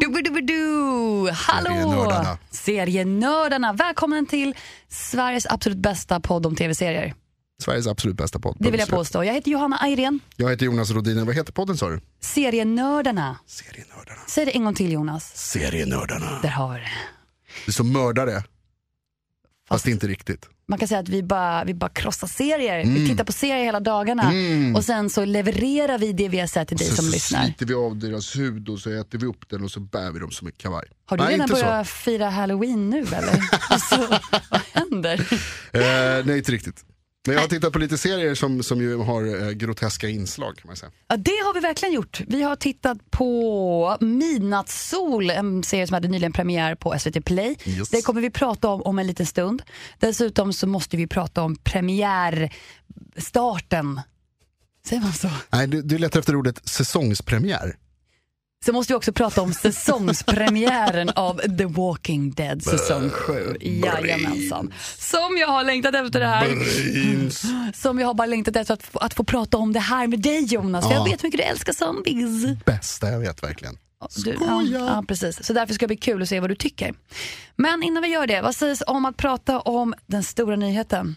Du-bu-du-bu-du! Hallå! Serienördarna. Serienördarna. Välkommen till Sveriges absolut bästa podd om tv-serier. Sveriges absolut bästa podd. Det vill jag Punkt slut. påstå. Jag heter Johanna Ayrén. Jag heter Jonas Rodiner. Vad heter podden sa du? Serienördarna. Serienördarna. Säg det en gång till Jonas. Serienördarna. Där har vi det. Det är som mördare. Fast, inte riktigt. Man kan säga att vi bara, vi bara krossar serier. Vi Mm. tittar på serier hela dagarna och sen så levererar vi det vi har sett till dig Sen som Mm. så lyssnar. sliter vi av deras hud och så äter vi upp den och så bär vi dem som en kavaj. Har du Nej, redan inte så. börjat fira halloween nu eller? Alltså, vad händer? Eh, nej, inte riktigt. Men jag har tittat på lite serier som, som ju har eh, groteska inslag kan man säga. Ja, det har vi verkligen gjort. Vi har tittat på Midnattssol, en serie som hade nyligen premiär på SVT Play. Yes. Det kommer vi prata om om en liten stund. Dessutom så måste vi prata om premiärstarten. Säger man så? Nej, du, du letar efter ordet säsongspremiär. Så måste vi också prata om säsongspremiären av The Walking Dead säsong 7. Jajamensan. Som jag har längtat efter det här. Som jag har bara längtat efter att, få- att få prata om det här med dig Jonas. För jag Ja. vet hur mycket du älskar zombies. Bästa jag vet verkligen. Du, ja, ja, precis. Så därför ska det bli kul att se vad du tycker. Men innan vi gör det, vad sägs om att prata om den stora nyheten?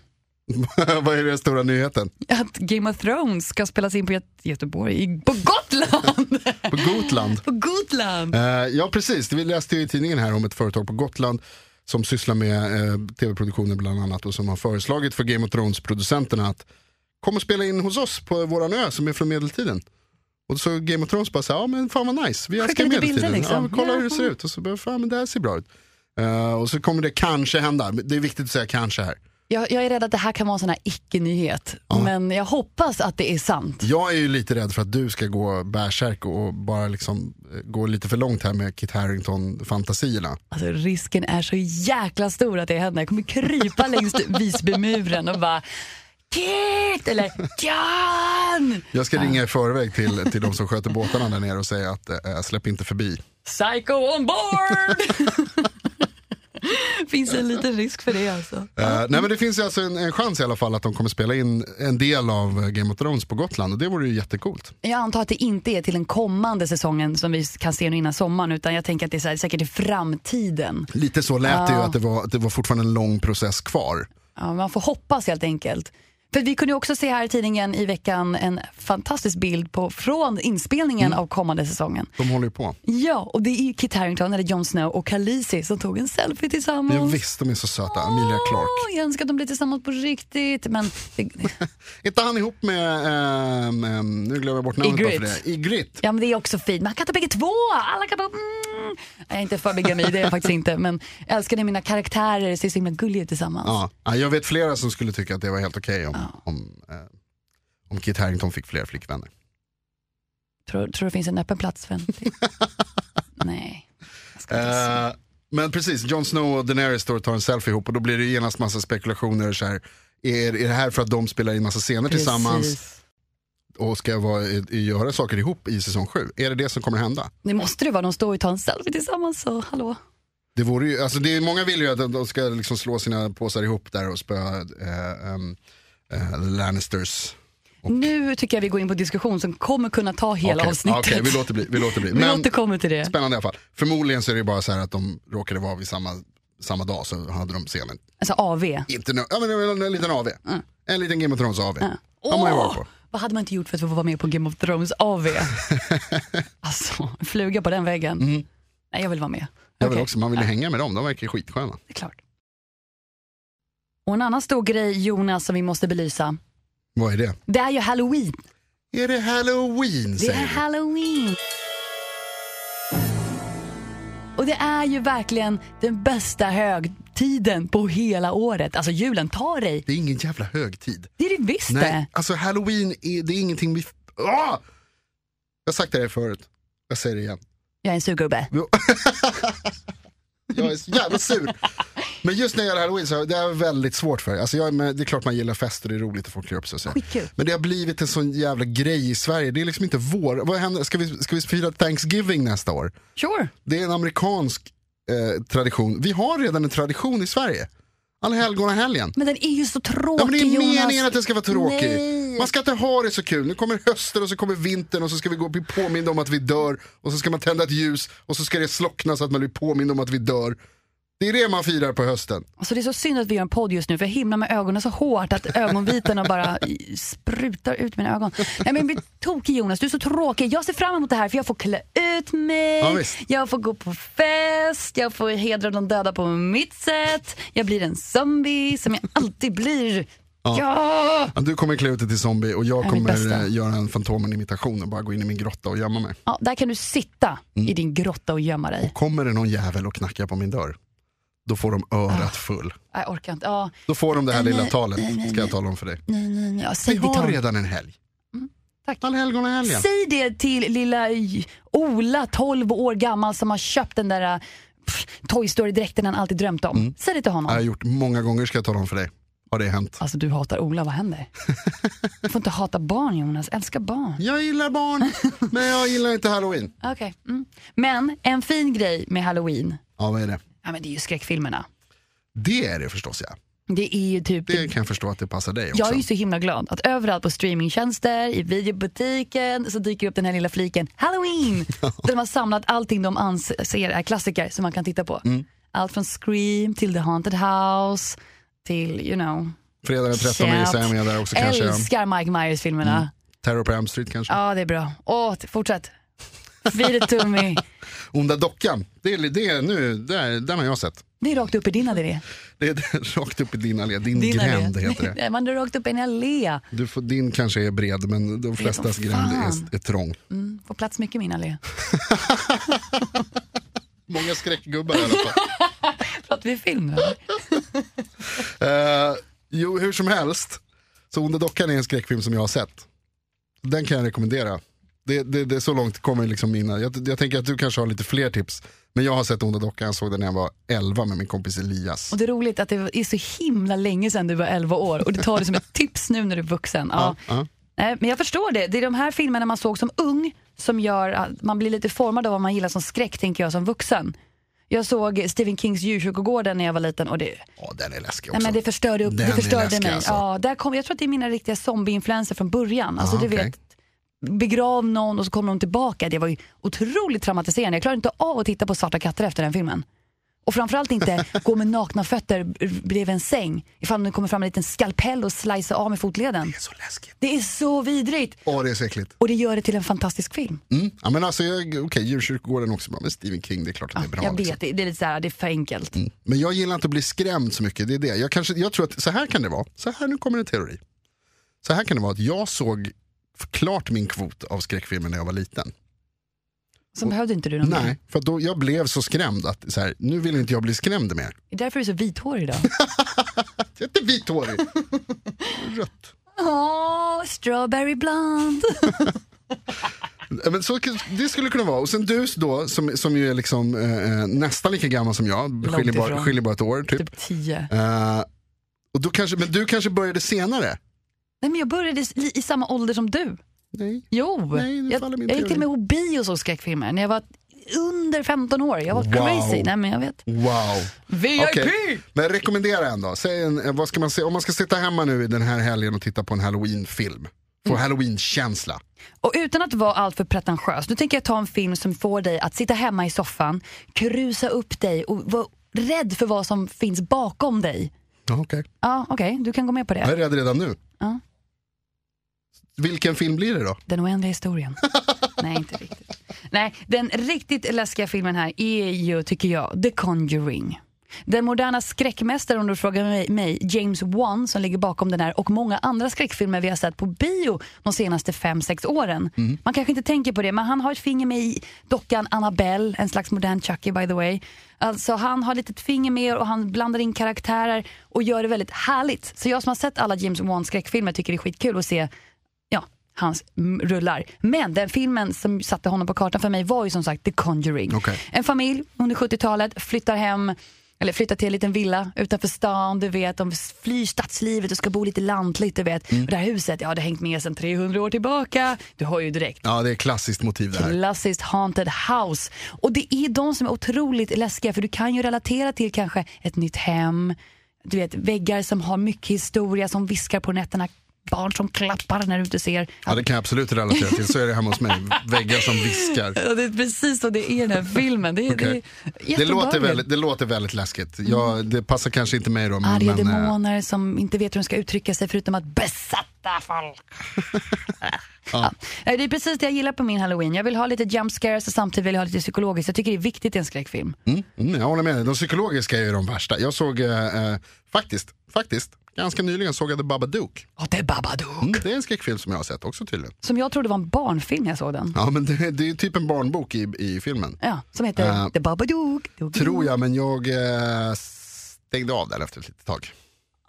Vad är den stora nyheten? Att Game of Thrones ska spelas in på Göte- Göteborg, i- på Gotland! På Gotland. på Gotland! Eh, ja, precis. Vi läste ju i tidningen här om ett företag på Gotland som sysslar med eh, tv-produktioner bland annat och som har föreslagit för Game of Thrones-producenterna att kom och spela in hos oss på våran ö som är från medeltiden. Och så Game of Thrones bara så här, ja men fan vad nice, vi älskar lite medeltiden. bilder liksom. Ja, men kolla Ja. hur det ser ut och så bara, fan men det här ser bra ut. Eh, och så kommer det kanske hända, Men det är viktigt att säga kanske här. Jag, jag är rädd att det här kan vara en sån här icke-nyhet, men jag hoppas att det är sant. Jag är ju lite rädd för att du ska gå bärsärk och bara liksom eh, gå lite för långt här med Kit Harington-fantasierna. Alltså, risken är så jäkla stor att det händer. Jag kommer krypa längs Visbymuren och bara Kit! Eller Jan! Jag ska ringa i förväg till, till de som sköter båtarna där nere och säga att eh, släpp inte förbi. Psycho on board! Finns en liten risk för det alltså. Eh, nej men det finns ju alltså en, en chans i alla fall att de kommer spela in en del av eh, Game of Thrones på Gotland och det vore ju jättecoolt. Jag antar att det inte är till den kommande säsongen som vi kan se nu innan sommaren utan jag tänker att det är så här, säkert i framtiden. Lite så lät det ju att det var, att det var fortfarande en lång process kvar. Ja, man får hoppas helt enkelt. För vi kunde ju också se här i tidningen i veckan en fantastisk bild på, från inspelningen av kommande säsongen. De håller ju på. Ja, och det är ju Kit Harington, eller Jon Snow och Khaleesi som tog en selfie tillsammans. Jag visste de är så söta, Emilia Clarke. Åh, jag önskar att de blev tillsammans på riktigt. Men det, Inte han ihop med, ehm, ehm, nu glömmer jag bort namnet bara för Ygritte. det. Ygritte. Ja men det är också fint. Man kan ta bägge två. Alla kan bara... Mm. Jag är inte för bigami, det är jag faktiskt inte. Men jag älskar när mina karaktärer ser så himla gulliga ut tillsammans. Ja. Ja, jag vet flera som skulle tycka att det var helt okej om, om, eh, om Kit Harington fick fler flickvänner. Tror, tror det finns en öppen plats för en till? Nej. Jag ska inte säga. Eh, men precis, Jon Snow och Daenerys står och tar en selfie ihop och då blir det genast massa spekulationer. Så här, är, är det här för att de spelar in massa scener tillsammans Precis. och ska vara, i- göra saker ihop i säsong 7? Är det det som kommer hända? Det måste det vara. De står och tar en selfie tillsammans. Så, hallå. Det vore ju, alltså det är, många vill ju att de ska liksom slå sina påsar ihop där och spöa eh, em, eh, Lannisters. Nu tycker jag vi går in på diskussion som kommer kunna ta hela Okej, avsnittet. okej, vi låter bli. Vi låter bli. Vi Men- återkommer till det. Spännande i alla fall. Förmodligen så är det bara så här att de råkade vara vid samma, samma dag så hade de scenen. Alltså AV. Mm. Inte no- ja, men en, en liten AV. En liten Game of Thrones AV. Har man ju varit på. vad hade man inte gjort för att få vara med på Game of Thrones AV? alltså, fluga på den väggen. Nej, jag vill vara med. Mm. Jag vill Okej. också, man vill ju hänga med dem, de verkar ju skitsköna. Det är klart. Och en annan stor grej, Jonas, som vi måste belysa. Vad är det? Det är ju halloween. Är det halloween Det är säger du? halloween. Och det är ju verkligen den bästa högtiden högtiden på hela året. Alltså julen, tar dig. Det är ingen jävla högtid. Det är det visst det. Nej, alltså halloween är, det är ingenting vi... Ah! Jag har sagt det här förut, jag säger det igen. Jag är en surgubbe. Jag är så jävla sur. Men just när det gäller halloween så det är jag väldigt svårt för. Alltså jag, är med- det är klart man gillar fester, det är roligt att folk klär upp sig. och Så. Skitkul. Men det har blivit en sån jävla grej i Sverige. Det är liksom inte vår. Vad händer? Ska, vi, ska vi fira Thanksgiving nästa år? Sure. Det är en amerikansk eh, tradition. Vi har redan en tradition i Sverige. Allhelgonahelgen. Men den är ju så Ja, tråkig men det är Jonas. meningen att den ska vara tråkig. Nej. Man ska inte ha det så kul. Nu kommer hösten och så kommer vintern och så ska vi gå och bli påminda om att vi dör. Och så ska man tända ett ljus och så ska det slockna så att man blir påmind om att vi dör. Det är det man firar på hösten. Alltså det är så synd att vi gör en podd just nu för jag himlar med ögonen så hårt att ögonvitorna bara i- sprutar ut mina ögon. Nej men jag blir tokig Jonas, du är så tråkig. Jag ser fram emot det här för jag får klä ut mig, Ja, visst. jag får gå på fest, jag får hedra de döda på mitt sätt. Jag blir en zombie som jag alltid blir. Ja! ja! Ja, Du kommer klä ut dig till zombie och jag är mitt bästa. kommer eh, göra en Fantomen-imitation och bara gå in i min grotta och gömma mig. där kan du sitta Mm. i din grotta och gömma dig. Kommer det någon jävel och knackar på min dörr, då får de Ah. örat full. Jag orkar inte. Ja, Då får de det här lilla talet, ska jag tala om för dig. nej, nej, nej. Ja, säg Vi det till har honom. redan en helg. Tack. Allhelgonahelgen. Säg det till lilla J- Ola, 12 år gammal, som har köpt den där äh, pff, Toy Story-dräkten han alltid drömt om. Säg det till honom. Mm. Jag har gjort många gånger, ska jag tala om för dig. Har det hänt. Alltså du hatar Ola, vad händer? Du får inte hata barn Jonas, älska barn. Jag gillar barn, men jag gillar inte halloween. Okay. Mm. Men en fin grej med halloween, Ja, vad är det? ja, men det är ju skräckfilmerna. Det är det förstås ja. Det är ju typ Det kan jag förstå att det passar dig också. Jag är ju så himla glad att överallt på streamingtjänster, i videobutiken så dyker upp den här lilla fliken Halloween! där de har samlat allting de anser är klassiker som man kan titta på. Mm. Allt från Scream till The Haunted House till, you know. Fredag den 13 gissar jag med där också kanske. Mm. Älskar Mike Myers-filmerna. Terror på Elm Street kanske. Ja, det är bra. Åh, t- fortsätt. Vid tummi. Onda dockan, det är, det är nu, där, den har jag sett. Det är rakt upp i din allé. Det är rakt upp i din allé, din, Din gränd allé. heter det. Nej, Man är rakt upp i en allé. Du får, din kanske är bred men de flestas som gränd fan. är, är trång. Mm, får plats mycket i min allé. Många skräckgubbar i alla fall. Pratar vi film nu? eller? Eh, jo, hur som helst. Så Onda dockan är en skräckfilm som jag har sett. Den kan jag rekommendera. Det, det, det är så långt kommer liksom mina. Jag, jag tänker att du kanske har lite fler tips. Men jag har sett Onda dockan, jag såg den när jag var 11 med min kompis Elias. Och det är roligt att det är så himla länge sedan du var 11 år och du tar det som ett tips nu när du är vuxen. Ja. ja. Nej, men jag förstår det. Det är de här filmerna man såg som ung som gör att man blir lite formad av vad man gillar som skräck, tänker jag, som vuxen. Jag såg Stephen Kings Djurkyrkogården när jag var liten och det, Ja, den är läskig också. nej, men det förstörde, upp, Den det är förstörde läskig, mig. alltså. Ja, där kom, jag tror att det är mina riktiga zombieinfluenser från början. Alltså, Ah, du okej. vet, begrav någon och så kommer de tillbaka. Det var ju otroligt traumatiserande. Jag klarade inte av att titta på svarta katter efter den filmen. Och framförallt inte gå med nakna fötter bredvid en säng ifall det kommer fram en liten skalpell och slicea av med fotleden. Det är så läskigt. Det är så vidrigt Åh, det är så äckligt. och det gör det till en fantastisk film. Mm. Ja, men alltså, jag- Okej, djurkyrkogården också bra, men Stephen King, det är klart att det är bra. jag liksom. Mm. vet, det, det är lite så här, det är för enkelt. Men jag gillar inte att bli skrämd så mycket. Det är det. Jag, kanske, jag tror att så här kan det vara. Så här, nu kommer en teori. Så här kan det vara att jag såg klart min kvot av skräckfilmer när jag var liten. Så behövde inte du någon mer. Nej, för att då, jag blev så skrämd att så här, nu vill inte jag bli skrämd mer. Det är därför du är så vithårig idag. Jag är inte vithårig. Rött. Åh, strawberry blonde. Ja, Men så, det skulle kunna vara. Och sen du då, som, som ju är liksom, eh, eh, nästan lika gammal som jag, skiljer bara, ifrån. skiljer bara ett år typ. typ 10. Eh, och då kanske, men du kanske började senare? Nej men jag började i, i samma ålder som du. Nej. Jo, Nej, nu jag, faller min jag gick teori. till och med på bio och såg skräckfilmer när jag var under 15 år. Jag var Wow. crazy. Nej men jag vet. Wow. VIP! Okej, Men rekommendera en då. Säg en, eh, vad ska man se? Om man ska sitta hemma nu i den här helgen och titta på en halloween-film. Få Mm. halloween-känsla. Och utan att vara alltför pretentiös, nu tänker jag ta en film som får dig att sitta hemma i soffan, krusa upp dig och vara rädd för vad som finns bakom dig. Ja, okej. Ja, okej, du kan gå med på Jag det. är rädd redan nu. Ja. Vilken film blir det då? Den oändliga historien. Nej, inte riktigt. Nej, den riktigt läskiga filmen här är ju, tycker jag, The Conjuring. Den moderna skräckmästaren, om du frågar mig- mig, James Wan, som ligger bakom den här och många andra skräckfilmer vi har sett på bio de senaste fem sex åren. Man kanske inte tänker på det, men han har ett finger med i dockan Annabelle, en slags modern Chucky by the way. Alltså han har ett litet finger med och han blandar in karaktärer och gör det väldigt härligt. Så jag som har sett alla James Wan skräckfilmer tycker det är skitkul att se ja, hans mm, rullar. Men den filmen som satte honom på kartan för mig var ju som sagt The Conjuring. Okej. En familj under 70-talet flyttar hem eller flyttar till en liten villa utanför stan, du vet, de flyr stadslivet och ska bo lite lantligt, du vet. Mm. Och det här huset, ja det har hängt med sedan 300 år tillbaka. Du har ju direkt. Ja, det är klassiskt motiv det här. Klassiskt haunted house. Och det är de som är otroligt läskiga för du kan ju relatera till kanske ett nytt hem, du vet väggar som har mycket historia som viskar på nätterna, barn som klappar när du inte ser. Ja, det kan jag absolut relatera till. Så är det hemma hos mig. Väggar som viskar. Ja, det är precis så det är i den här filmen. Det, är, Okej. det, är Det, låter jätteobehagligt. väldigt, det låter väldigt läskigt. Jag, det passar kanske inte mig då. Men, Mm. Arga men, eh, demoner som inte vet hur de ska uttrycka sig förutom att besatta folk. ja. Nej, Det är precis det jag gillar på min halloween. Jag vill ha lite jump scares och samtidigt vill jag ha lite psykologiskt. Jag tycker det är viktigt i en skräckfilm. Mm, mm, jag håller med dig. De psykologiska är ju de värsta. Jag såg eh, eh, faktiskt, faktiskt, ganska nyligen såg jag The Babadook. Och det är Babadook. Mm, det är en skräckfilm som jag har sett också tydligen. Som jag trodde var en barnfilm när jag såg den. Ja, men det, det är ju typ en barnbok i, i filmen. Ja, som heter Eh, The Babadook. Dook. Tror jag, men jag eh, stängde av den efter ett litet tag.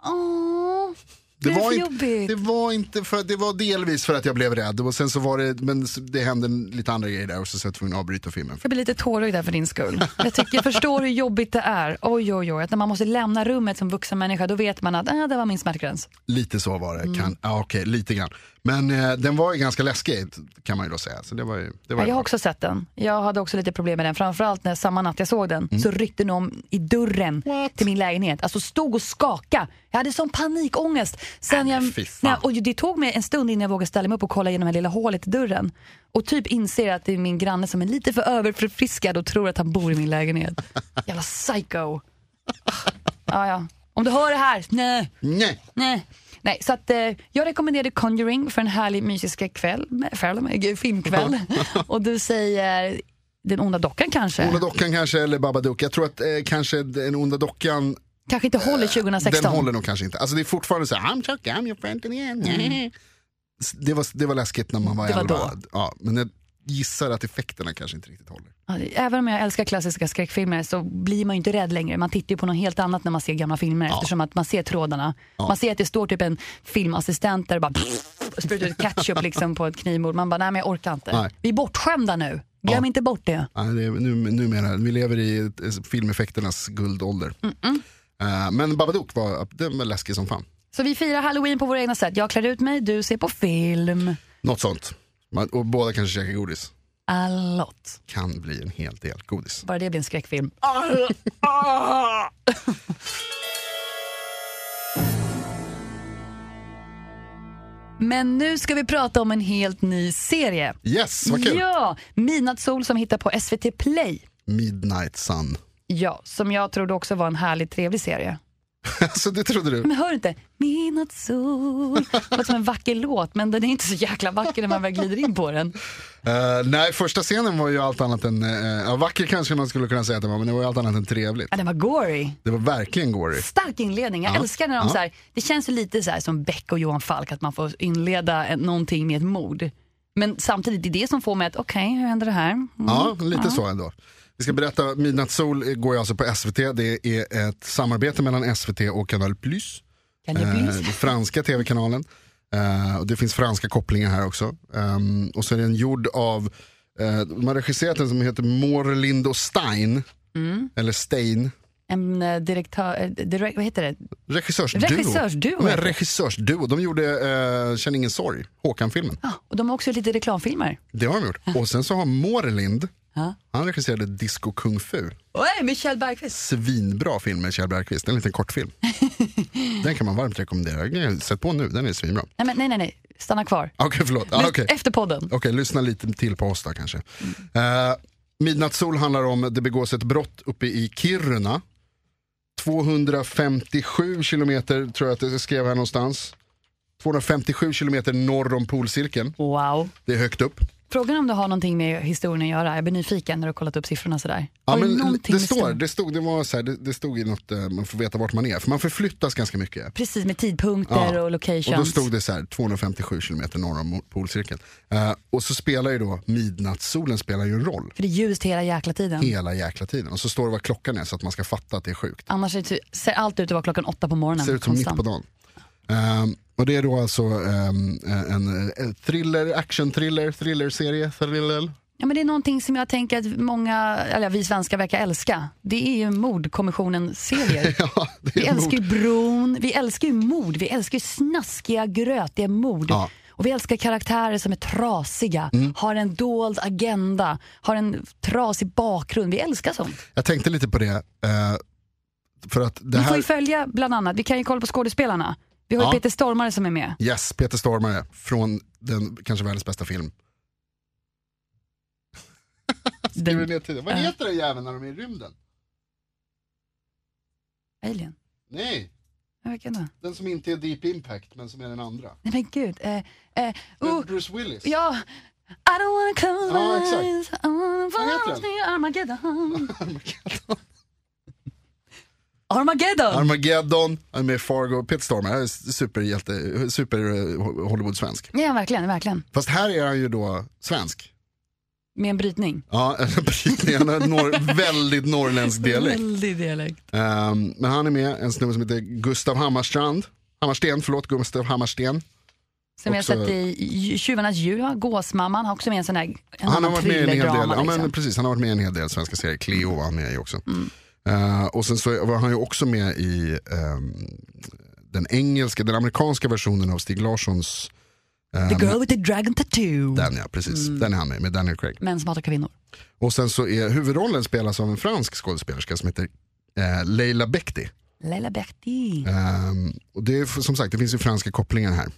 Åh, det, är för inte, jobbigt. det var inte för att, det var delvis för att jag blev rädd och sen så var det, men s- det hände en- lite andra grejer där och så, så jag var tvungen att avbryta filmen. Jag blir lite tårögd där för din skull. Jag, tycker, jag förstår hur jobbigt det är. Oj, oj, oj. Att när man måste lämna rummet som vuxen människa, då vet man att äh, det var min smärtgräns. Lite så var det, Mm. kan, ja, okej, lite grann. Men eh, den var ju ganska läskig kan man ju då säga. Så det var ju, det var Ja, ju jag har bra. också sett den. Jag hade också lite problem med den. Framförallt när samma natt jag såg Mm. den så ryckte någon i dörren till min lägenhet. Alltså stod och skaka. Jag hade sån panikångest. Sen jag, fy fan. när, och det tog mig en stund innan jag vågade ställa mig upp och kolla genom det lilla hålet i dörren. Och typ inser att det är min granne som är lite för överförfriskad och tror att han bor i min lägenhet. Jävla psycho. Ah, Ja, ja. Om du hör det här, nej. Nej. Nej. Nej, så att, eh, jag rekommenderar Conjuring för en härlig mysisk kväll, film, filmkväll. och du säger Den onda dockan kanske? Onda dockan kanske eller Babadook. Jag tror att eh, kanske den onda dockan, kanske inte håller 2016. Eh, den håller nog kanske inte. Alltså det är fortfarande så här, I'm Chuck, I'm your friend again. S- Det, var, det var läskigt när man var Mm. Det var 11. då. Ja, men jag gissar att effekterna kanske inte riktigt håller. Ja, det- Även om jag älskar klassiska skräckfilmer så blir man ju inte rädd längre. Man tittar ju på något helt annat när man ser gamla filmer eftersom att man ser trådarna. Man ser att det står typ en filmassistent där och bara sprutar ut ketchup liksom på ett knivmord. Man bara, nej men jag orkar inte. Nej. Vi är bortskämda nu. Glöm inte bort det. Ja, det är, nu, numera, vi lever i ett- ett filmeffekternas guldålder. Eh, men Babadook var, den var läskig som fan. Så vi firar halloween på våra egna sätt. Jag klär ut mig, du ser på film. Något sånt. Man, och båda kanske käkar godis. A lot. Kan bli en hel del godis. Bara det blir en skräckfilm. Men nu ska vi prata om en helt ny serie. Yes, vad kul. Ja, Midnattssol som hittar på SVT Play. Midnight Sun. Ja, som jag trodde också var en härligt trevlig serie. alltså det trodde du. Men hör du inte? Midnattssol. Det låter som en vacker låt, men den är inte så jäkla vacker när man väl glider in på den. Eh, nej, första scenen var ju allt annat än, eh, ja, vacker kanske man skulle kunna säga att den var, men det var ju allt annat än trevligt. Ja, den var gory. Det var verkligen gory. Stark inledning. Jag Ja. älskar när de Ja. så här, det känns ju lite så här som Beck och Johan Falk att man får inleda en, någonting med ett mord. Men samtidigt, det är det som får mig att okej, hur händer det här? Mm. Ja, lite så ändå. Vi ska berätta, Midnattssol går ju alltså på SVT. Det är ett samarbete mellan SVT och Kanal Plus. Kan det Eh, bli? den franska tv-kanalen. Eh, och det finns franska kopplingar här också. Ehm, och så är den gjord av, eh, de har regisserat en som heter Morlindo Stein. Eller Stein. En eh, direktör, eh, direkt, vad heter det? Regissörsduo. Regissörsduo. De är regissörsduo. De gjorde eh, Känn ingen sorg, Håkan-filmen. Ja, Ah, och de har också lite reklamfilmer. Det har de gjort. Och sen så har Morlind, Ja. han regisserade Disco Kung Fu. Oj, Michelle Bergqvist. Svinbra film med Kjell Bergqvist, en liten kortfilm. den kan man varmt rekommendera. Sätt på nu, den är svinbra. Nej, men, nej, nej, nej, stanna kvar. Okej, förlåt. Ah, Men okej. Efter podden. Okej, lyssna lite till på oss då kanske. Eh, Midnattssol handlar om det begås ett brott uppe i Kiruna. 257 kilometer tror jag att jag skrev här någonstans. 257 kilometer norr om polcirkeln. Wow. Det är högt upp. Frågan om det har någonting med historien att göra. Jag blir nyfiken när du har kollat upp siffrorna sådär. Ja, har men någonting det, med står, historien- det, stod, det, var så här, det, det stod i något, eh, man får veta vart man är, för man förflyttas ganska mycket. Precis, med tidpunkter och locations. Och då stod det så här, 257 kilometer norr om polcirkeln. Eh, och så spelar ju då, midnattssolen spelar ju en roll För det är ljust hela jäkla tiden. hela jäkla tiden. Och så står det vad klockan är så att man ska fatta att det är sjukt. Annars är det, typ- ser allt ut att vara klockan åtta på morgonen. ser ut som mitt Mm, konstant. på dagen. Ehm, och det är då alltså ehm, en, en thriller, action thriller, thriller-serie, thriller. Ja, men det är någonting som jag tänker att många, eller vi svenskar verkar älska. Det är ju mordkommissionen-serier. Ja, det vi är älskar mord. ju bron, vi älskar ju mord, vi älskar ju snaskiga, grötiga mord. Ja. Mm. Och vi älskar karaktärer som är trasiga, har en dold agenda, har en trasig bakgrund. Vi älskar sånt. Jag tänkte lite på det. eh, för att Vi det får här, ju följa bland annat, vi kan ju kolla på skådespelarna. Vi har ju Ja. Peter Stormare som är med. yes, Peter Stormare från den kanske världens bästa Mm. film. Skriver Den, ner tiden. Vad heter den jäveln när de är i rymden? Alien? Nej, Ja, Vilken då? den som inte är Deep Impact men som är den andra. Nej men gud. Eh, eh, Med oh, Bruce Willis. ja. I don't wanna close my Ja, exakt. eyes. I wanna heter watch den? me Armageddon. Armageddon. Armageddon, han är med i Fargo, Peter Stormare, han är superhjälte, super eh, Hollywood-svensk. ja verkligen, verkligen. Fast här är han ju då svensk. Med en brytning. Ja, brytning. han har en norr, väldigt norrländsk dialekt. Väldig dialekt. Ehm, men han är med, en snubbe som heter Gustav Hammarstrand. Hammarsten, förlåt, Gustav Hammarsten. Som vi har Också- sett i Dj- Tjuvarnas djur, va? Gåsmamman har också med en sån där en Han har annan varit med i en hel del, thrillerdrama, ja, men liksom. Mm. precis, han har varit med i en hel del svenska serier. Cleo var han med i också. Eh, och sen så var han ju också med i ehm, den engelska, den amerikanska versionen av Stig Larssons, The girl with the dragon tattoo. den ja, precis. Den är han med, med Daniel Craig. Män som hatar kvinnor. Och sen så är huvudrollen spelas av en fransk skådespelerska som heter eh, Leila Bekti. Leila Berti. Ehm, och det är f- som sagt, det finns ju franska kopplingar här.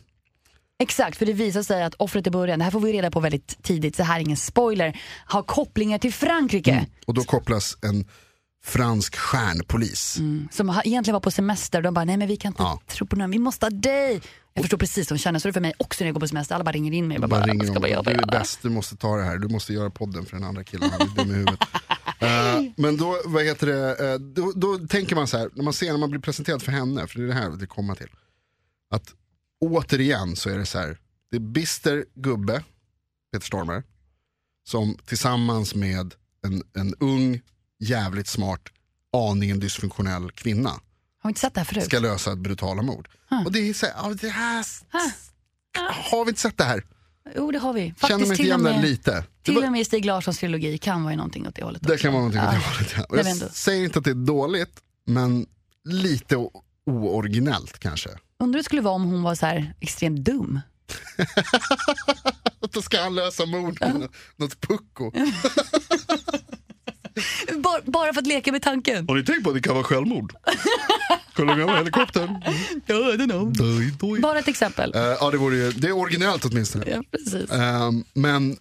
Exakt, för det visar sig att offret i början, det här får vi reda på väldigt tidigt, så här är ingen spoiler, har kopplingar till Frankrike. Och då kopplas en fransk stjärnpolis. Som har- egentligen var på semester, de bara nej men vi kan inte Ja. tro på någon, vi måste ha dig. Jag förstår precis hur de känner, så det är för mig också när jag går på semester, alla bara ringer in mig. Jag Bara bara, ringer "Vad ska man om, göra? du är bäst, du måste ta det här, du måste göra podden för den andra killen, han är dum i huvudet. Eh, men då, vad heter det, eh, då, då tänker man så här, när man ser, när man blir presenterad för henne, för det är det här vi kommer till. Att återigen så är det så här, det är bister gubbe, Peter Stormare, som tillsammans med en, en ung, jävligt smart, aningen dysfunktionell kvinna Har vi inte sett det här förut? ska lösa ett brutala mord. Och det är så här, ja, det här, Huh. har vi inte sett det här? Ah, Jo det har vi. Känner Faktiskt mig inte till och, igen där med, lite. Det, till och var, med i Stig Larssons trilogi kan vara ju någonting åt det hållet. Typ- det också. kan vara någonting åt det Ja. hållet. ja. Och Nej, Jag men ändå. säger inte att det är dåligt, men lite o- ooriginellt kanske. Undrar hur det skulle vara om hon var så här extremt dum. Att Då ska han lösa mord med nå- något pucko. Bara, bara för att leka med tanken. Har ni tänkt på att det kan vara självmord? Kolla med helikoptern. Doj, doj. Bara ett exempel. Eh, ja, det, vore ju, det är originellt åtminstone. Ja, precis. Ehm, men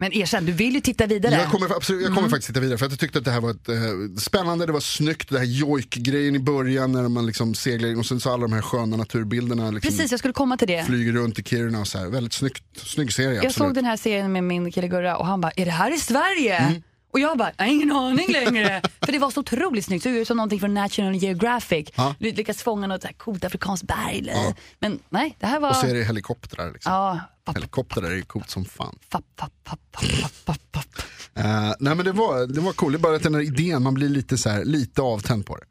Men erkänn, du vill ju titta vidare. jag kommer, absolut, jag kommer Mm. faktiskt titta vidare för att jag tyckte att det här var ett, eh, spännande, det var snyggt, det här jojk-grejen i början när man liksom seglar in och sen så alla de här sköna naturbilderna. Liksom, Precis, jag skulle komma till det. flyger runt i Kiruna och så här. Väldigt snyggt, snygg serie. Jag såg absolut. den här serien med min kille Gurra och han bara, är det här i Sverige? Mm. Och jag bara, jag har ingen aning längre. För det var så otroligt snyggt, det såg ut som någonting från National Geographic. Ja. Du lyckas fånga något så här coolt afrikanskt berg. eller- Ja. Men nej, det här Och så är var... det helikoptrar. Liksom. Ja, papp, Helikoptrar är ju coolt som fan. papp, papp, papp, papp, papp, papp. Eh, nej men det var, det var coolt, det är bara att den här idén, man blir lite, så här, lite avtänd på det.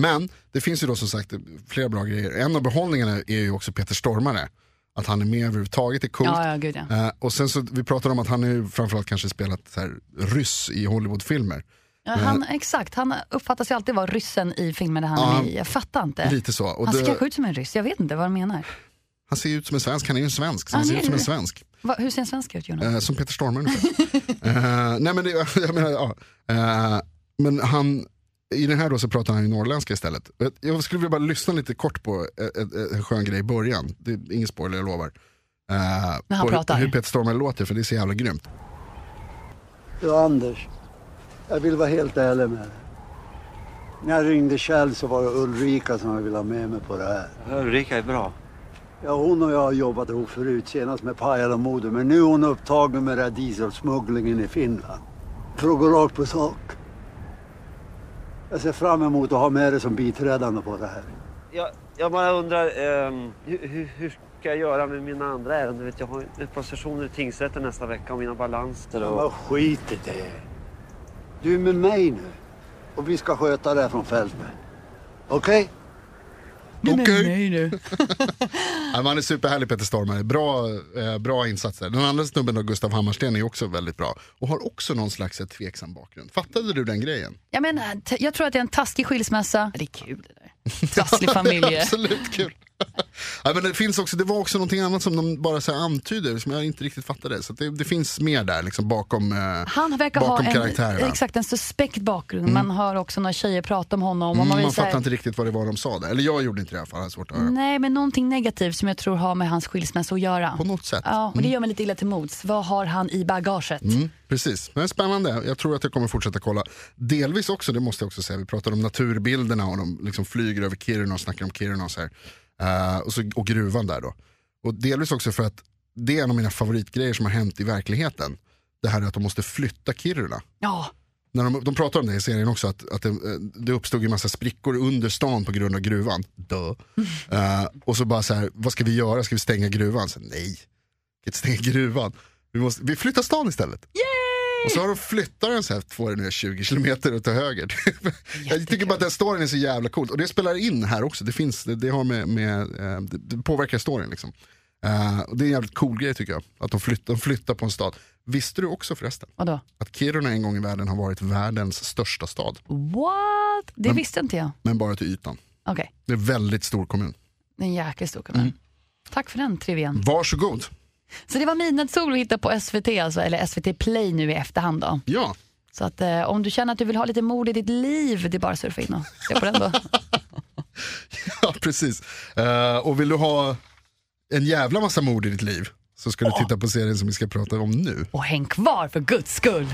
Men det finns ju då som sagt flera bra grejer. En av behållningarna är ju också Peter Stormare. Att han är med överhuvudtaget är coolt. Ja, ja, gud ja. Eh, och sen så, vi pratade om att han har ju framförallt kanske spelat så här, ryss i Hollywoodfilmer. Ja, Mm. Han, exakt, han uppfattas ju alltid vara ryssen i filmen där han Ja, är med i. Jag fattar inte. Lite så. Och Han ser det- kanske ut som en ryss, jag vet inte vad de menar. han ser ju ut som en svensk, han är ju en svensk. Så han Han ser är ut som en det. svensk. Va, hur ser en svensk ut Jonas? Eh, som Peter Stormare ungefär. Eh, nej men det, jag menar, ja. Eh, men han, i den här då så pratar han ju norrländska istället. Jag- Jag skulle vilja bara lyssna lite kort på ett- ett- ett- en skön grej i början. Det är ingen spoiler, jag lovar. Eh, När han på pratar. hur Peter Stormare låter, för det är så jävla grymt. Du Anders, jag vill vara helt ärlig med dig. När jag ringde Kjell så var det Ulrika som jag ville ha med mig på det här. Ulrika är bra. Ja, hon och jag har jobbat ihop förut, senast med Pajala Mode. Men nu är hon upptagen med den här dieselsmugglingen i Finland. För att gå rakt på sak. Jag ser fram emot att ha med dig som biträdande på det här. Jag, jag bara undrar, ehm, hur, hur, hur ska jag göra med mina andra ärenden? Vet, jag har ett par sessioner i tingsrätten nästa vecka och mina balanser. Ja, Och... men skit i det. Du är med mig nu. Och vi ska sköta det här från fältet. Okej? Okej. Nej nu. Ja, men han är superhärlig Peter Stormare, bra, eh, bra insatser. Den andra snubben då, Gustav Hammarsten, är också väldigt bra. Och har också någon slags eh, tveksam bakgrund. Fattade du den grejen? Jag, menar, t- jag tror att det är en taskig skilsmässa. Det är kul det där. Trasslig familje. Absolut kul. ja, men det, finns också, det var också någonting annat som de bara så här antyder, som jag inte riktigt fattade. Så att det, det finns mer där liksom, bakom, eh, Han verkar bakom ha en, karaktärerna. exakt, en suspekt bakgrund. Man hör också några tjejer prata om honom. Och man Mm, man blir så här, fattar inte riktigt vad det var de sa där. Eller jag gjorde inte det i alla fall, jag har svårt att höra. Nej, men någonting negativt som jag tror har med hans skilsmässa att göra. På något sätt. Ja, och det gör mig lite illa till mods. Vad har han i bagaget? Mm, precis, men spännande. Jag tror att jag kommer fortsätta kolla. Delvis också, det måste jag också säga, vi pratade om naturbilderna och de liksom flyger över Kiruna och snackar om Kiruna och så här. Eh, och, så, och gruvan där då. Och delvis också för att det är en av mina favoritgrejer som har hänt i verkligheten. Det här är att de måste flytta Kiruna. Ja, När de, de pratar om det i serien också, att, att det, eh, det uppstod en massa sprickor under stan på grund av gruvan. Duh. Eh, och så bara så här, vad ska vi göra? Ska vi stänga gruvan? Så, nej, vi kan inte stänga gruvan. Vi, måste, vi flyttar stan istället. Och så har de flyttat den så här, två, nu är 20 kilometer åt till höger. jag tycker bara att den storyn är så jävla cool. Och det spelar in här också, det, finns, det, det, har med, med, eh, det, det påverkar storyn. Liksom. Eh, och det är en jävligt cool grej tycker jag, att de, flytt, de flyttar på en stad. Visste du också förresten? vadå? att Kiruna en gång i världen har varit världens största stad, What? Det visste inte jag. men bara till ytan. Okej, Det är en väldigt stor kommun. det är en jäkla stor kommun. Tack för den Mm. trivian. Varsågod. Så det var Midnattssol att hitta på SVT, alltså, eller SVT Play nu i efterhand. Då. Ja, Så att, eh, om du känner att du vill ha lite mord i ditt liv, det är bara att surfa in och se på den då. ja precis. Eh, och vill du ha en jävla massa mord i ditt liv så ska du titta på serien som vi ska prata om nu. Och häng kvar för guds skull.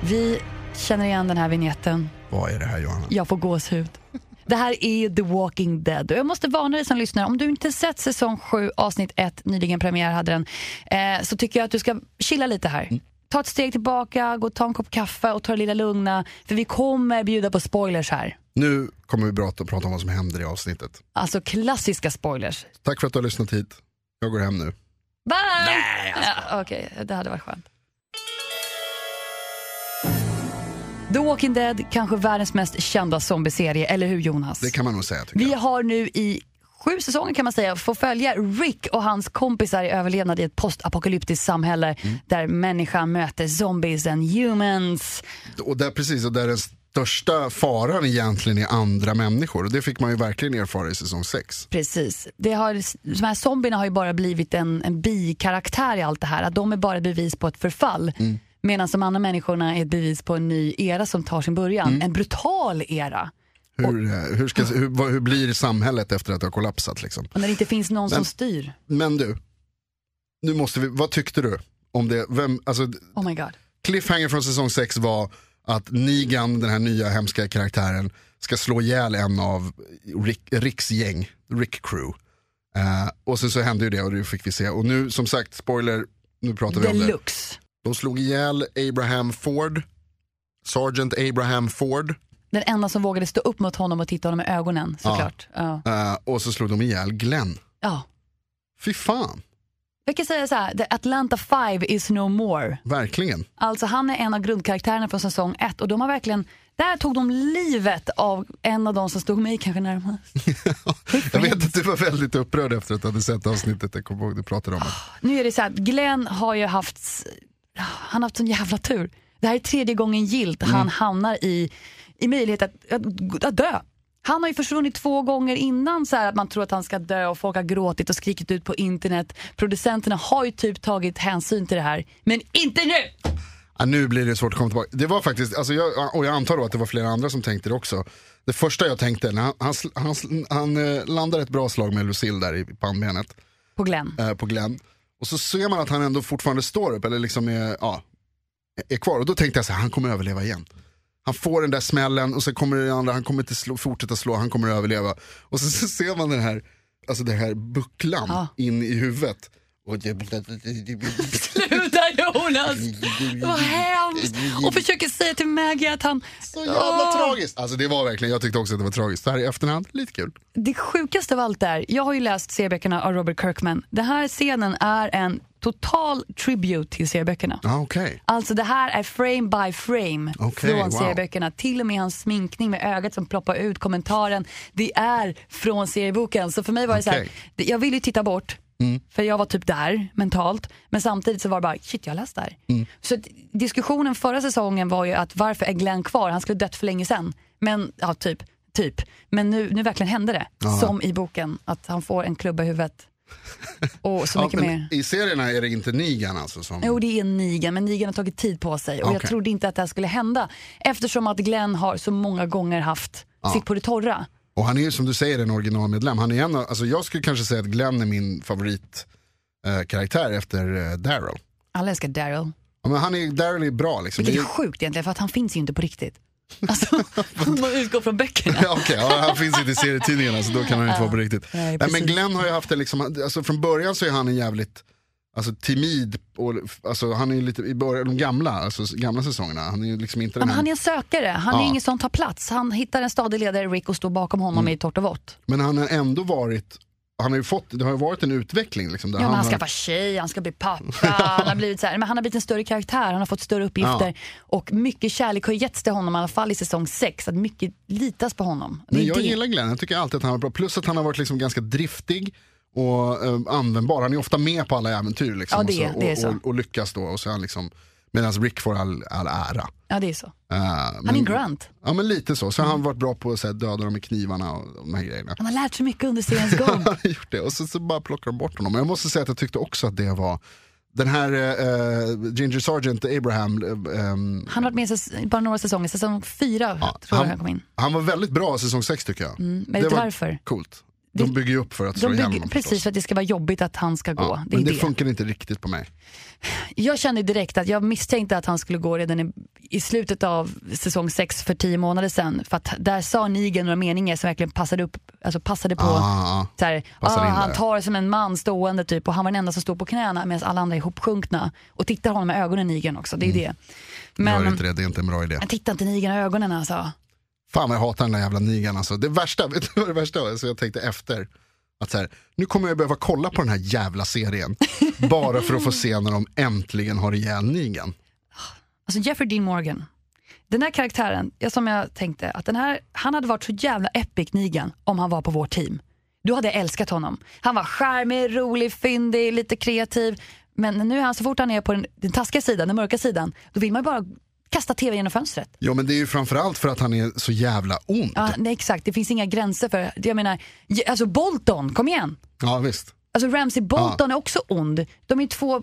Vi känner igen den här vignetten. Vad är det här Johanna? Jag får gåshud. Det här är The Walking Dead och jag måste varna dig som lyssnar, om du inte sett säsong 7 avsnitt 1, nyligen premiär hade den, eh, så tycker jag att du ska chilla lite här. Mm. Ta ett steg tillbaka, gå och ta en kopp kaffe och ta det lilla lugna, för vi kommer bjuda på spoilers här. Nu kommer vi prata prata om vad som händer i avsnittet. Alltså klassiska spoilers. Tack för att du har lyssnat hit. Jag går hem nu. Bye! ja, Okej, det hade varit skönt. The Walking Dead, kanske världens mest kända zombieserie, eller hur Jonas? Det kan man nog säga tycker Vi jag. har nu i sju säsonger kan man säga får följa Rick och hans kompisar i överlevnad i ett postapokalyptiskt samhälle där människan möter zombies and humans. Och där, precis, och där den största faran egentligen är andra människor. Och det fick man ju verkligen erfara i säsong 6. Precis. Det har, de här zombierna har ju bara blivit en, en bikaraktär i allt det här. Att de är bara ett bevis på ett förfall. Medan de andra människorna är ett bevis på en ny era som tar sin början. En brutal era. Hur, eh, hur, ska, hur, vad- hur blir samhället efter att det har kollapsat? Liksom? Och när det inte finns någon som styr. Men du, nu måste vi, vad tyckte du? om det? Vem, alltså, Oh my god. cliffhanger från säsong 6 var att Negan, den här nya hemska karaktären, ska slå ihjäl en av Rick, Ricks gäng, Rick crew. Eh, och sen så hände ju det och det fick vi se. Och nu som sagt, spoiler, nu pratar vi om det. Deluxe. De slog ihjäl Abraham Ford, Sergeant Abraham Ford. Den enda som vågade stå upp mot honom och titta honom i ögonen såklart. Ja. Eh, och så slog de ihjäl Glenn. Ja. Fy fan, Vi kan säga så här, The Atlanta Five is no more. verkligen. Alltså han är en av grundkaraktärerna från säsong ett och de har verkligen, där tog de livet av en av de som stod mig kanske närmast. Jag vet att du var väldigt upprörd efter att du hade sett avsnittet. Jag kommer ihåg du pratade om det. Nu är det så här, Glenn har ju haft, s- han har haft sån jävla tur. Det här är tredje gången gilt han hamnar i, i möjlighet att, att, att dö. Han har ju försvunnit två gånger innan så här att man tror att han ska dö och folk har gråtit och skrikit ut på internet. Producenterna har ju typ tagit hänsyn till det här, men inte nu! Ja, nu blir det svårt att komma tillbaka. Det var faktiskt, alltså jag, och jag antar då att det var flera andra som tänkte det också. Det första jag tänkte, när han, han, sl- han, sl- han eh, landar ett bra slag med Lucille där i pannbenet På Glenn. eh, på Glenn. Och så ser man att han ändå fortfarande står upp, eller liksom är, ja, är kvar. Och då tänkte jag så här, han kommer överleva igen. Han får den där smällen och sen kommer den andra, han kommer inte slå, fortsätta slå, han kommer överleva. Och sen så ser man den här, alltså den här bucklan Ja. in i huvudet. Och det, Sluta Jonas! Det var hemskt! Och försöker säga till Maggie att han... så jävla tragiskt. Alltså det var verkligen, jag tyckte också att det var tragiskt. Så här i efterhand, lite kul. Det sjukaste av allt är, jag har ju läst serieböckerna av Robert Kirkman. Den här scenen är en total tribute till serieböckerna. Ja, okej. Alltså det här är frame by frame Okej, från wow. serieböckerna. Till och med hans sminkning med ögat som ploppar ut, kommentaren. Det är från serieboken. Så för mig var det så här, Okej. Mm. det- jag ville ju titta bort. För jag var typ där mentalt. Men samtidigt så var det bara, shit jag har läst det här. Mm. Så att diskussionen förra säsongen var ju att varför är Glenn kvar? Han skulle dött för länge sedan. Men, ja typ. Typ. Men nu, nu verkligen hände det. Som i boken, att han får en klubba i huvudet. Och så Ja, mycket men mer. I serierna är det inte Nigan alltså som... Jo, det är Nigen, men Nigen har tagit tid på sig och jag Okej. trodde inte att det här skulle hända eftersom att Glenn har så många gånger haft sitt på det torra. Och han är ju som du säger en originalmedlem. Han är en, av- alltså jag skulle kanske säga att Glenn är min favorit eh, karaktär efter eh, Daryl. Alla älskar Daryl. Ja, men han är, Daryl är bra liksom. Vilket Det är är, sjukt egentligen för att han finns ju inte på riktigt. Alltså, om man utgår från böckerna. ja, okej, ja, han finns inte i serietidningarna så då kan han inte vara på riktigt. Nej, Nej, precis. men Glenn har ju haft det liksom, alltså från början så är han en jävligt alltså, timid, och, alltså, han är ju lite i början, de gamla, alltså, gamla säsongerna. Han är ju liksom inte Ja, den Men här, han är en sökare, han är Ja. ingen som tar plats. Han hittar en stadig ledare, Rick, och står bakom honom Mm. i torrt och vått. men han har ändå varit, han har ju fått, det har ju varit en utveckling liksom. Där Ja, men han har- skaffar tjej, han ska bli pappa, han har blivit, så här, men han har blivit en större karaktär, han har fått större uppgifter. Och mycket kärlek har getts till honom, i alla fall i säsong 6, att mycket litas på honom. Det Men är jag det. gillar Glenn, jag tycker alltid att han var bra. Plus att han har varit liksom ganska driftig och eh, användbar. Han är ofta med på alla äventyr liksom, Ja, det- och, så, det är så. Och, och, och lyckas då. Och så är han liksom, Medan Rick får all, all ära. Ja, det är så. Eh, Han är Mm. men- Grant. Ja men lite så. Så har han varit bra på att så här, döda dem med knivarna och de här grejerna. Han har lärt sig mycket under seriens gång. Han har gjort det och så, så bara plockar de bort honom. Men jag måste säga att jag tyckte också att det var den här eh, Ginger Sargent Abraham, eh, ehm, Han har varit med i säs- bara några säsonger, säsong fyra Ja, tror jag han- han kom in. han var väldigt bra i säsong 6 tycker jag. Mm, men vet du var varför? Coolt. De bygger ju upp för att slå De ihjäl bygger, honom precis förstås. för att det ska vara jobbigt att han ska gå. Ja, det är men det det, funkar inte riktigt på mig. Jag kände direkt att jag misstänkte att han skulle gå redan i, i slutet av säsong sex för tio månader sedan. För att där sa Negan några meningar som verkligen passade, upp, alltså passade på. Ah, Så här, ah, Passade in han där. tar som en man stående typ och han var den enda som stod på knäna medan alla andra är ihopsjunkna. Och tittar honom i ögonen Negan också, det är det. Mm. gör Men inte det, det är inte en bra idé. jag tittar inte Negan i ögonen alltså. Fan vad jag hatar den där jävla nigan alltså. Det värsta, vet du vad det värsta var? Alltså, jag tänkte efter. Att så här, nu kommer jag behöva kolla på den här jävla serien. bara för att få se när de äntligen har ihjäl nigan. Alltså Jeffrey Dean Morgan. Den här karaktären, ja, som jag tänkte, att den här, han hade varit så jävla epic Negan om han var på vårt team. Då hade jag älskat honom. Han var charmig, rolig, fyndig, lite kreativ. Men nu är han, så fort han är på den, den taskiga sidan, den mörka sidan, då vill man ju bara kasta tv genom fönstret. Ja men det är ju framförallt för att han är så jävla ond. Ja, nej, exakt, det finns inga gränser för Jag menar, je- alltså Bolton, kom igen. Ja visst. Alltså Ramsey Bolton är också ond. De är två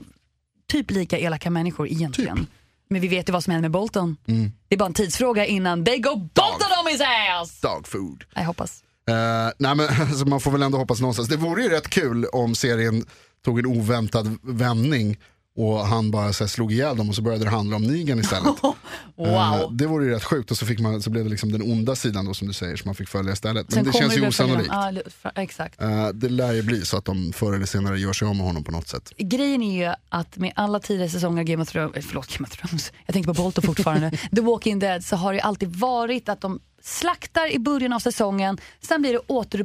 typ lika elaka människor egentligen. Typ. Men vi vet ju vad som händer med Bolton. Mm. Det är bara en tidsfråga innan they go Bolton on his ass! Dog food. Jag hoppas. Eh, nej men alltså, man får väl ändå hoppas någonstans. Det vore ju rätt kul om serien tog en oväntad vändning och han bara så här, slog ihjäl dem och så började det handla om nigen istället. Eh, Wow. Det vore ju rätt sjukt och så, fick man, så blev det liksom den onda sidan då som du säger som man fick följa istället. Men det kommer känns ju väl följa dem. osannolikt. Ja, det- fra- exakt. Eh, det lär ju bli så att de förr eller senare gör sig av med honom på något sätt. Grejen är ju att med alla tidigare säsonger av Game of Thrones, eh, förlåt Game of Thrones, jag tänker på Bolton fortfarande, The Walking Dead så har det ju alltid varit att de slaktar i början av säsongen, sen blir det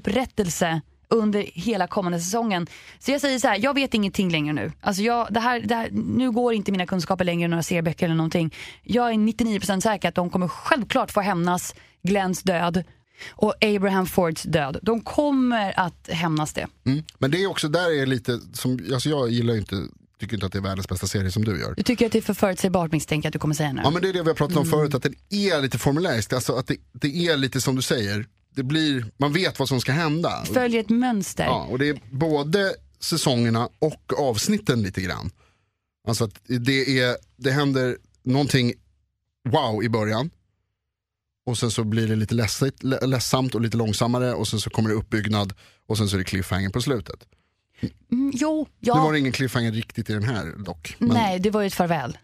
återupprättelse under hela kommande säsongen. Så jag säger så här, jag vet ingenting längre nu. Alltså jag, det här, det här, nu går inte mina kunskaper längre än några serieböcker eller någonting. Jag är 99% säker att de kommer självklart få hämnas Glens död och Abraham Fords död. De kommer att hämnas det. Mm. Men det är också där är lite, som, alltså jag gillar ju inte, tycker inte att det är världens bästa serie som du gör. Du tycker att det är för förutsägbart misstänker jag att du kommer säga nu. Ja men det är det vi har pratat om Mm. förut, att den är lite formulärisk. Alltså att det, det är lite som du säger, det blir, man vet vad som ska hända. följer ett mönster. Ja, och det är både säsongerna och avsnitten lite grann. Alltså att det, är, det händer någonting wow i början. Och sen så blir det lite ledsigt, le- ledsamt och lite långsammare och sen så kommer det uppbyggnad och sen så är det cliffhanger på slutet. Mm, jo, ja. Nu var det ingen cliffhanger riktigt i den här dock. Men Nej, det var ju ett farväl.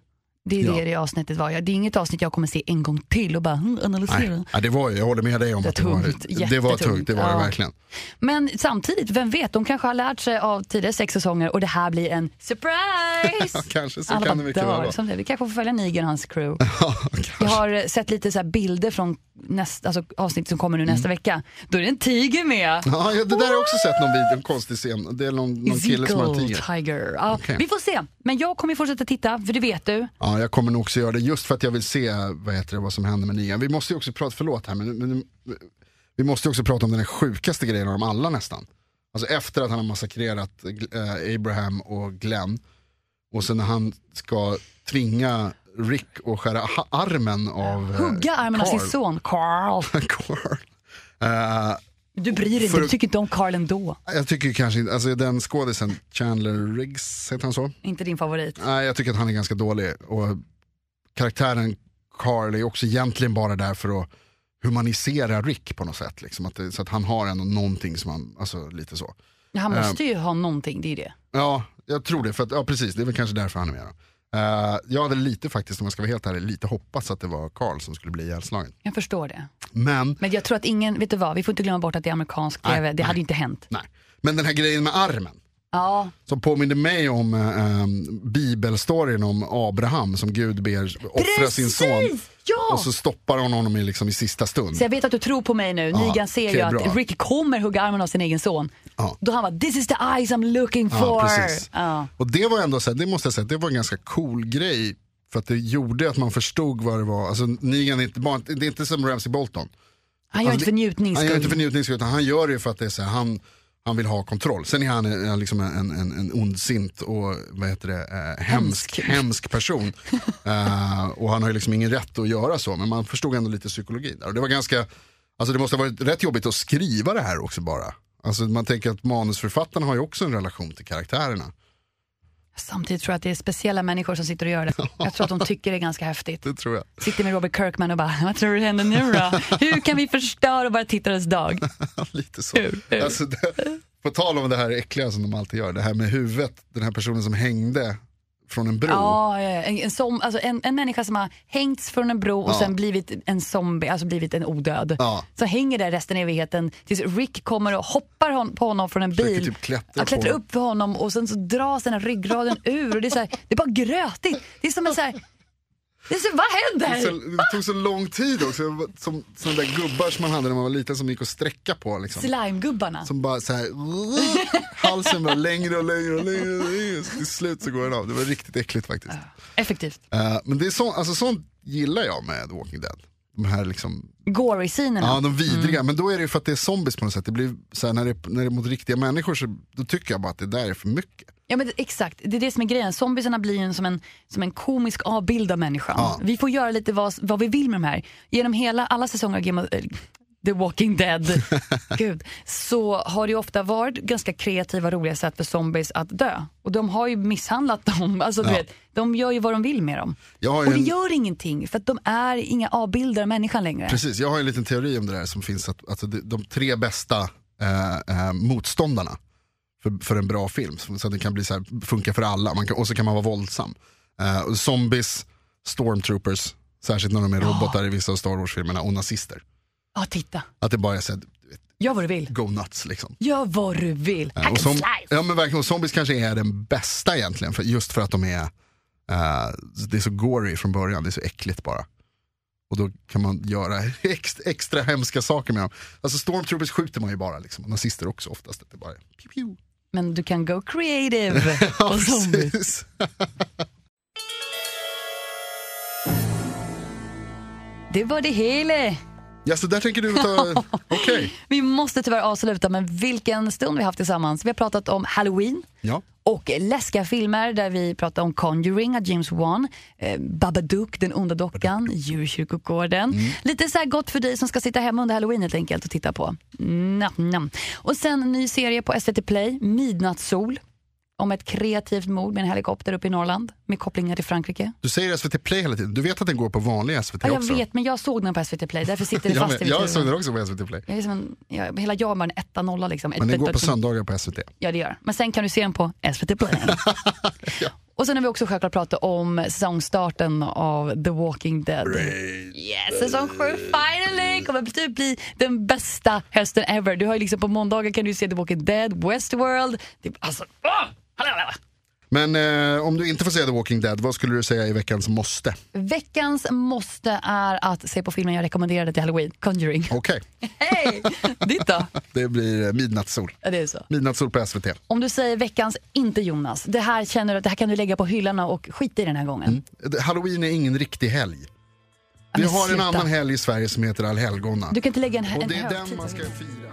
Det är Ja. det det avsnittet var. Ja, Det är inget avsnitt jag kommer se en gång till och bara mm, analysera. Nej. Ja, det var, jag håller med dig om Det att det var, tungt, det var jättetungt. tungt. Det var det Ja. verkligen. Men samtidigt, vem vet, de kanske har lärt sig av tidigare sex säsonger och det här blir en surprise! Kanske så Alla kan det bara mycket väl dör. liksom. vara. Som det. Vi kanske får följa Negan och hans crew. Ja, kanske. Jag har eh, sett lite så här bilder från nästa, alltså avsnitt som kommer nu nästa vecka. Då är det en tiger med! Mm. Ja, ja, det där har jag också sett någon video, en konstig scen. Det är någon, någon kille som har en tiger. Ezekiel Tiger. Ja, Okej. Vi får se, men jag kommer fortsätta titta, för det vet du. Ja, jag kommer nog också göra det just för att jag vill se vad, heter det, vad som händer med nian. Vi måste ju också prata, förlåt här, men, men vi måste ju också prata om den här sjukaste grejen av dem alla nästan. Alltså efter att han har massakrerat eh, Abraham och Glenn och sen när han ska tvinga Rick att skära ha- armen av eh, Hugga armen av sin Carl. son Carl. Carl. Eh, Du bryr dig inte, För- du tycker inte om Carl ändå. jag tycker ju kanske inte, alltså den skådisen, Chandler Riggs, heter han så? Inte din favorit. Nej, jag tycker att han är ganska dålig. Och karaktären Carl är också egentligen bara där för att humanisera Rick på något sätt. Liksom. Att det, så att han har ändå någonting som han, alltså lite så. Han Eh. måste ju ha någonting, det är ju det. Ja, jag tror det. För att, ja, precis. Det är väl kanske därför han är med. Då. Eh, jag hade lite faktiskt, om jag ska vara helt ärlig, lite hoppats att det var Carl som skulle bli ihjälslagen. Jag förstår det. Men, Men jag tror att ingen, vet du vad, vi får inte glömma bort att det är amerikansk Nej, tv. det nej. hade ju inte hänt. nej. Men den här grejen med armen. Ja, Som påminner mig om eh, eh, bibelstoryn om Abraham som Gud ber offra sin son. Precis! Ja! Och så stoppar hon honom i, liksom, i sista stund. så jag vet att du tror på mig nu. Nigan ser okej, ju att bra. Rick kommer hugga armen av sin egen son. Ja. Då han bara, this is the eyes I'm looking Ja, for. precis. Ja. Och det var ändå så här, det måste jag säga, det var en ganska cool grej. För att det gjorde att man förstod vad det var. Alltså Negan är inte, bara, det är inte som Ramsey Bolton. Han gör Alltså, inte för njutnings Han gör inte för skull. njutnings skull, utan han gör det ju för att det är så här, han, han vill ha kontroll. Sen är han eh, liksom en, en, en ondsint och vad heter det, eh, hemsk, Hemsk. hemsk person. Eh, och han har ju liksom ingen rätt att göra så, men man förstod ändå lite psykologi där. Och det var ganska, alltså det måste ha varit rätt jobbigt att skriva det här också bara. Alltså man tänker att manusförfattarna har ju också en relation till karaktärerna. Samtidigt tror jag att det är speciella människor som sitter och gör det. Jag tror att de tycker det är ganska häftigt. Det tror jag. Sitter med Robert Kirkman och bara, vad tror du händer nu då? Hur kan vi förstöra bara tittarens dag? Lite så. Alltså, det, på tal om det här äckliga som de alltid gör, det här med huvudet, den här personen som hängde från en bro. Ja, ja, en, en, som, alltså en, en människa som har hängts från en bro och sen blivit en zombie, alltså blivit en odöd. Ja. Så hänger där resten av evigheten tills Rick kommer och hoppar hon, på honom från en Försöker bil. typ klättra ja, klättrar på- upp för honom och sen så dras den här ryggraden ur. Och det, är så här, det är bara grötigt. Det är som en så här, det är så, vad Det, händer? tog så, det tog så lång tid också, som, som de där gubbar som man hade när man var liten som gick och sträcka på. Liksom. Slimegubbarna. Som bara så här, halsen bara längre och längre och längre. Och längre. Så till slut så går den av, det var riktigt äckligt faktiskt. Effektivt. Eh, men det är så, alltså, sånt gillar jag med The Walking Dead. De här liksom Gory-scenerna. Ja, de vidriga. Mm. Men då är det ju för att det är zombies på något sätt. Det blir så här, när, det, när det är mot riktiga människor så då tycker jag bara att det där är för mycket. Ja men det- exakt, det är det som är grejen. Zombiesarna blir ju en- som en, som en komisk avbild av människan. Vi får göra lite vad, vad vi vill med de här. Genom hela, alla säsonger av Game of, eh, The Walking Dead Gud, så har det ju ofta varit ganska kreativa roliga sätt för zombies att dö. Och de har ju misshandlat dem. Alltså, du Ja. vet, de gör ju vad de vill med dem. Jag har ju Och det en- gör ingenting för att de är inga avbilder av människan längre. Precis, jag har en liten teori om det där som finns. Att, alltså, de, de tre bästa eh, eh, motståndarna för, för en bra film. Så så att den kan bli så här, funka för alla. Man kan, och så kan man vara våldsam. Eh, och zombies, stormtroopers, särskilt när de är robotar i vissa av Star Wars-filmerna. Och nazister. Ja titta, Att det bara är så här, gör vad du vill. go nuts liksom. Gör vad du vill. Ja, Eh, Och som, ja men verkligen, och zombies kanske är den bästa egentligen, för, just för att de är, eh, det är så gory från början, det är så äckligt bara. Och då kan man göra extra, extra hemska saker med dem. Alltså stormtroopers skjuter man ju bara, liksom. och nazister också oftast. Det är bara, pew, pew. Men du kan go creative. Ja, och zombies. precis. Det var det hela. Ja, så där tänker du ta, okej. Vi måste tyvärr avsluta, men vilken stund vi haft tillsammans. Vi har pratat om Halloween Ja. och läskiga filmer där vi pratar om Conjuring av James Wan, eh, Babadook, Den onda dockan, Djurkyrkogården. Mm. Lite så här gott för dig som ska sitta hemma under Halloween helt enkelt och titta på. Nam, nam. Och sen en ny serie på SVT Play, Midnattssol. om ett kreativt mord med en helikopter uppe i Norrland med kopplingar till Frankrike. Du säger SVT Play hela tiden. Du vet att den går på vanlig SVT Ja, jag också? vet, men jag såg den på SVT Play, därför sitter det jag, fast i vet, mitt jag såg huvud. den också på SVT Play. Jag är som en, jag, hela jag är bara en etta nolla liksom. Men den Ett- går ett- på söndagar på SVT. Ja, det gör den. Men sen kan du se den på SVT Play. Och sen har vi också självklart pratat om säsongstarten av The Walking Dead. Yes, säsong 7 finally! Kommer typ bli den bästa hösten ever. Du har ju liksom på måndagar kan du se The Walking Dead, Westworld. Det, alltså, åh! Hallå, hallå. Men eh, om du inte får säga The Walking Dead, vad skulle du säga i veckans måste? Veckans måste är att se på filmen jag rekommenderade till Halloween, Conjuring. Okej, Hej! Ditt då? det blir eh, Midnattssol. Ja, Det är så. Midnattssol på SVT. Om du säger veckans inte Jonas, det här känner du att det här kan du lägga på hyllorna och skita i den här gången. Halloween är ingen riktig helg. Mm. Vi men har en sluta. annan helg i Sverige som heter Allhelgona. Du kan inte lägga en, Och en det är den högtid. man ska fira.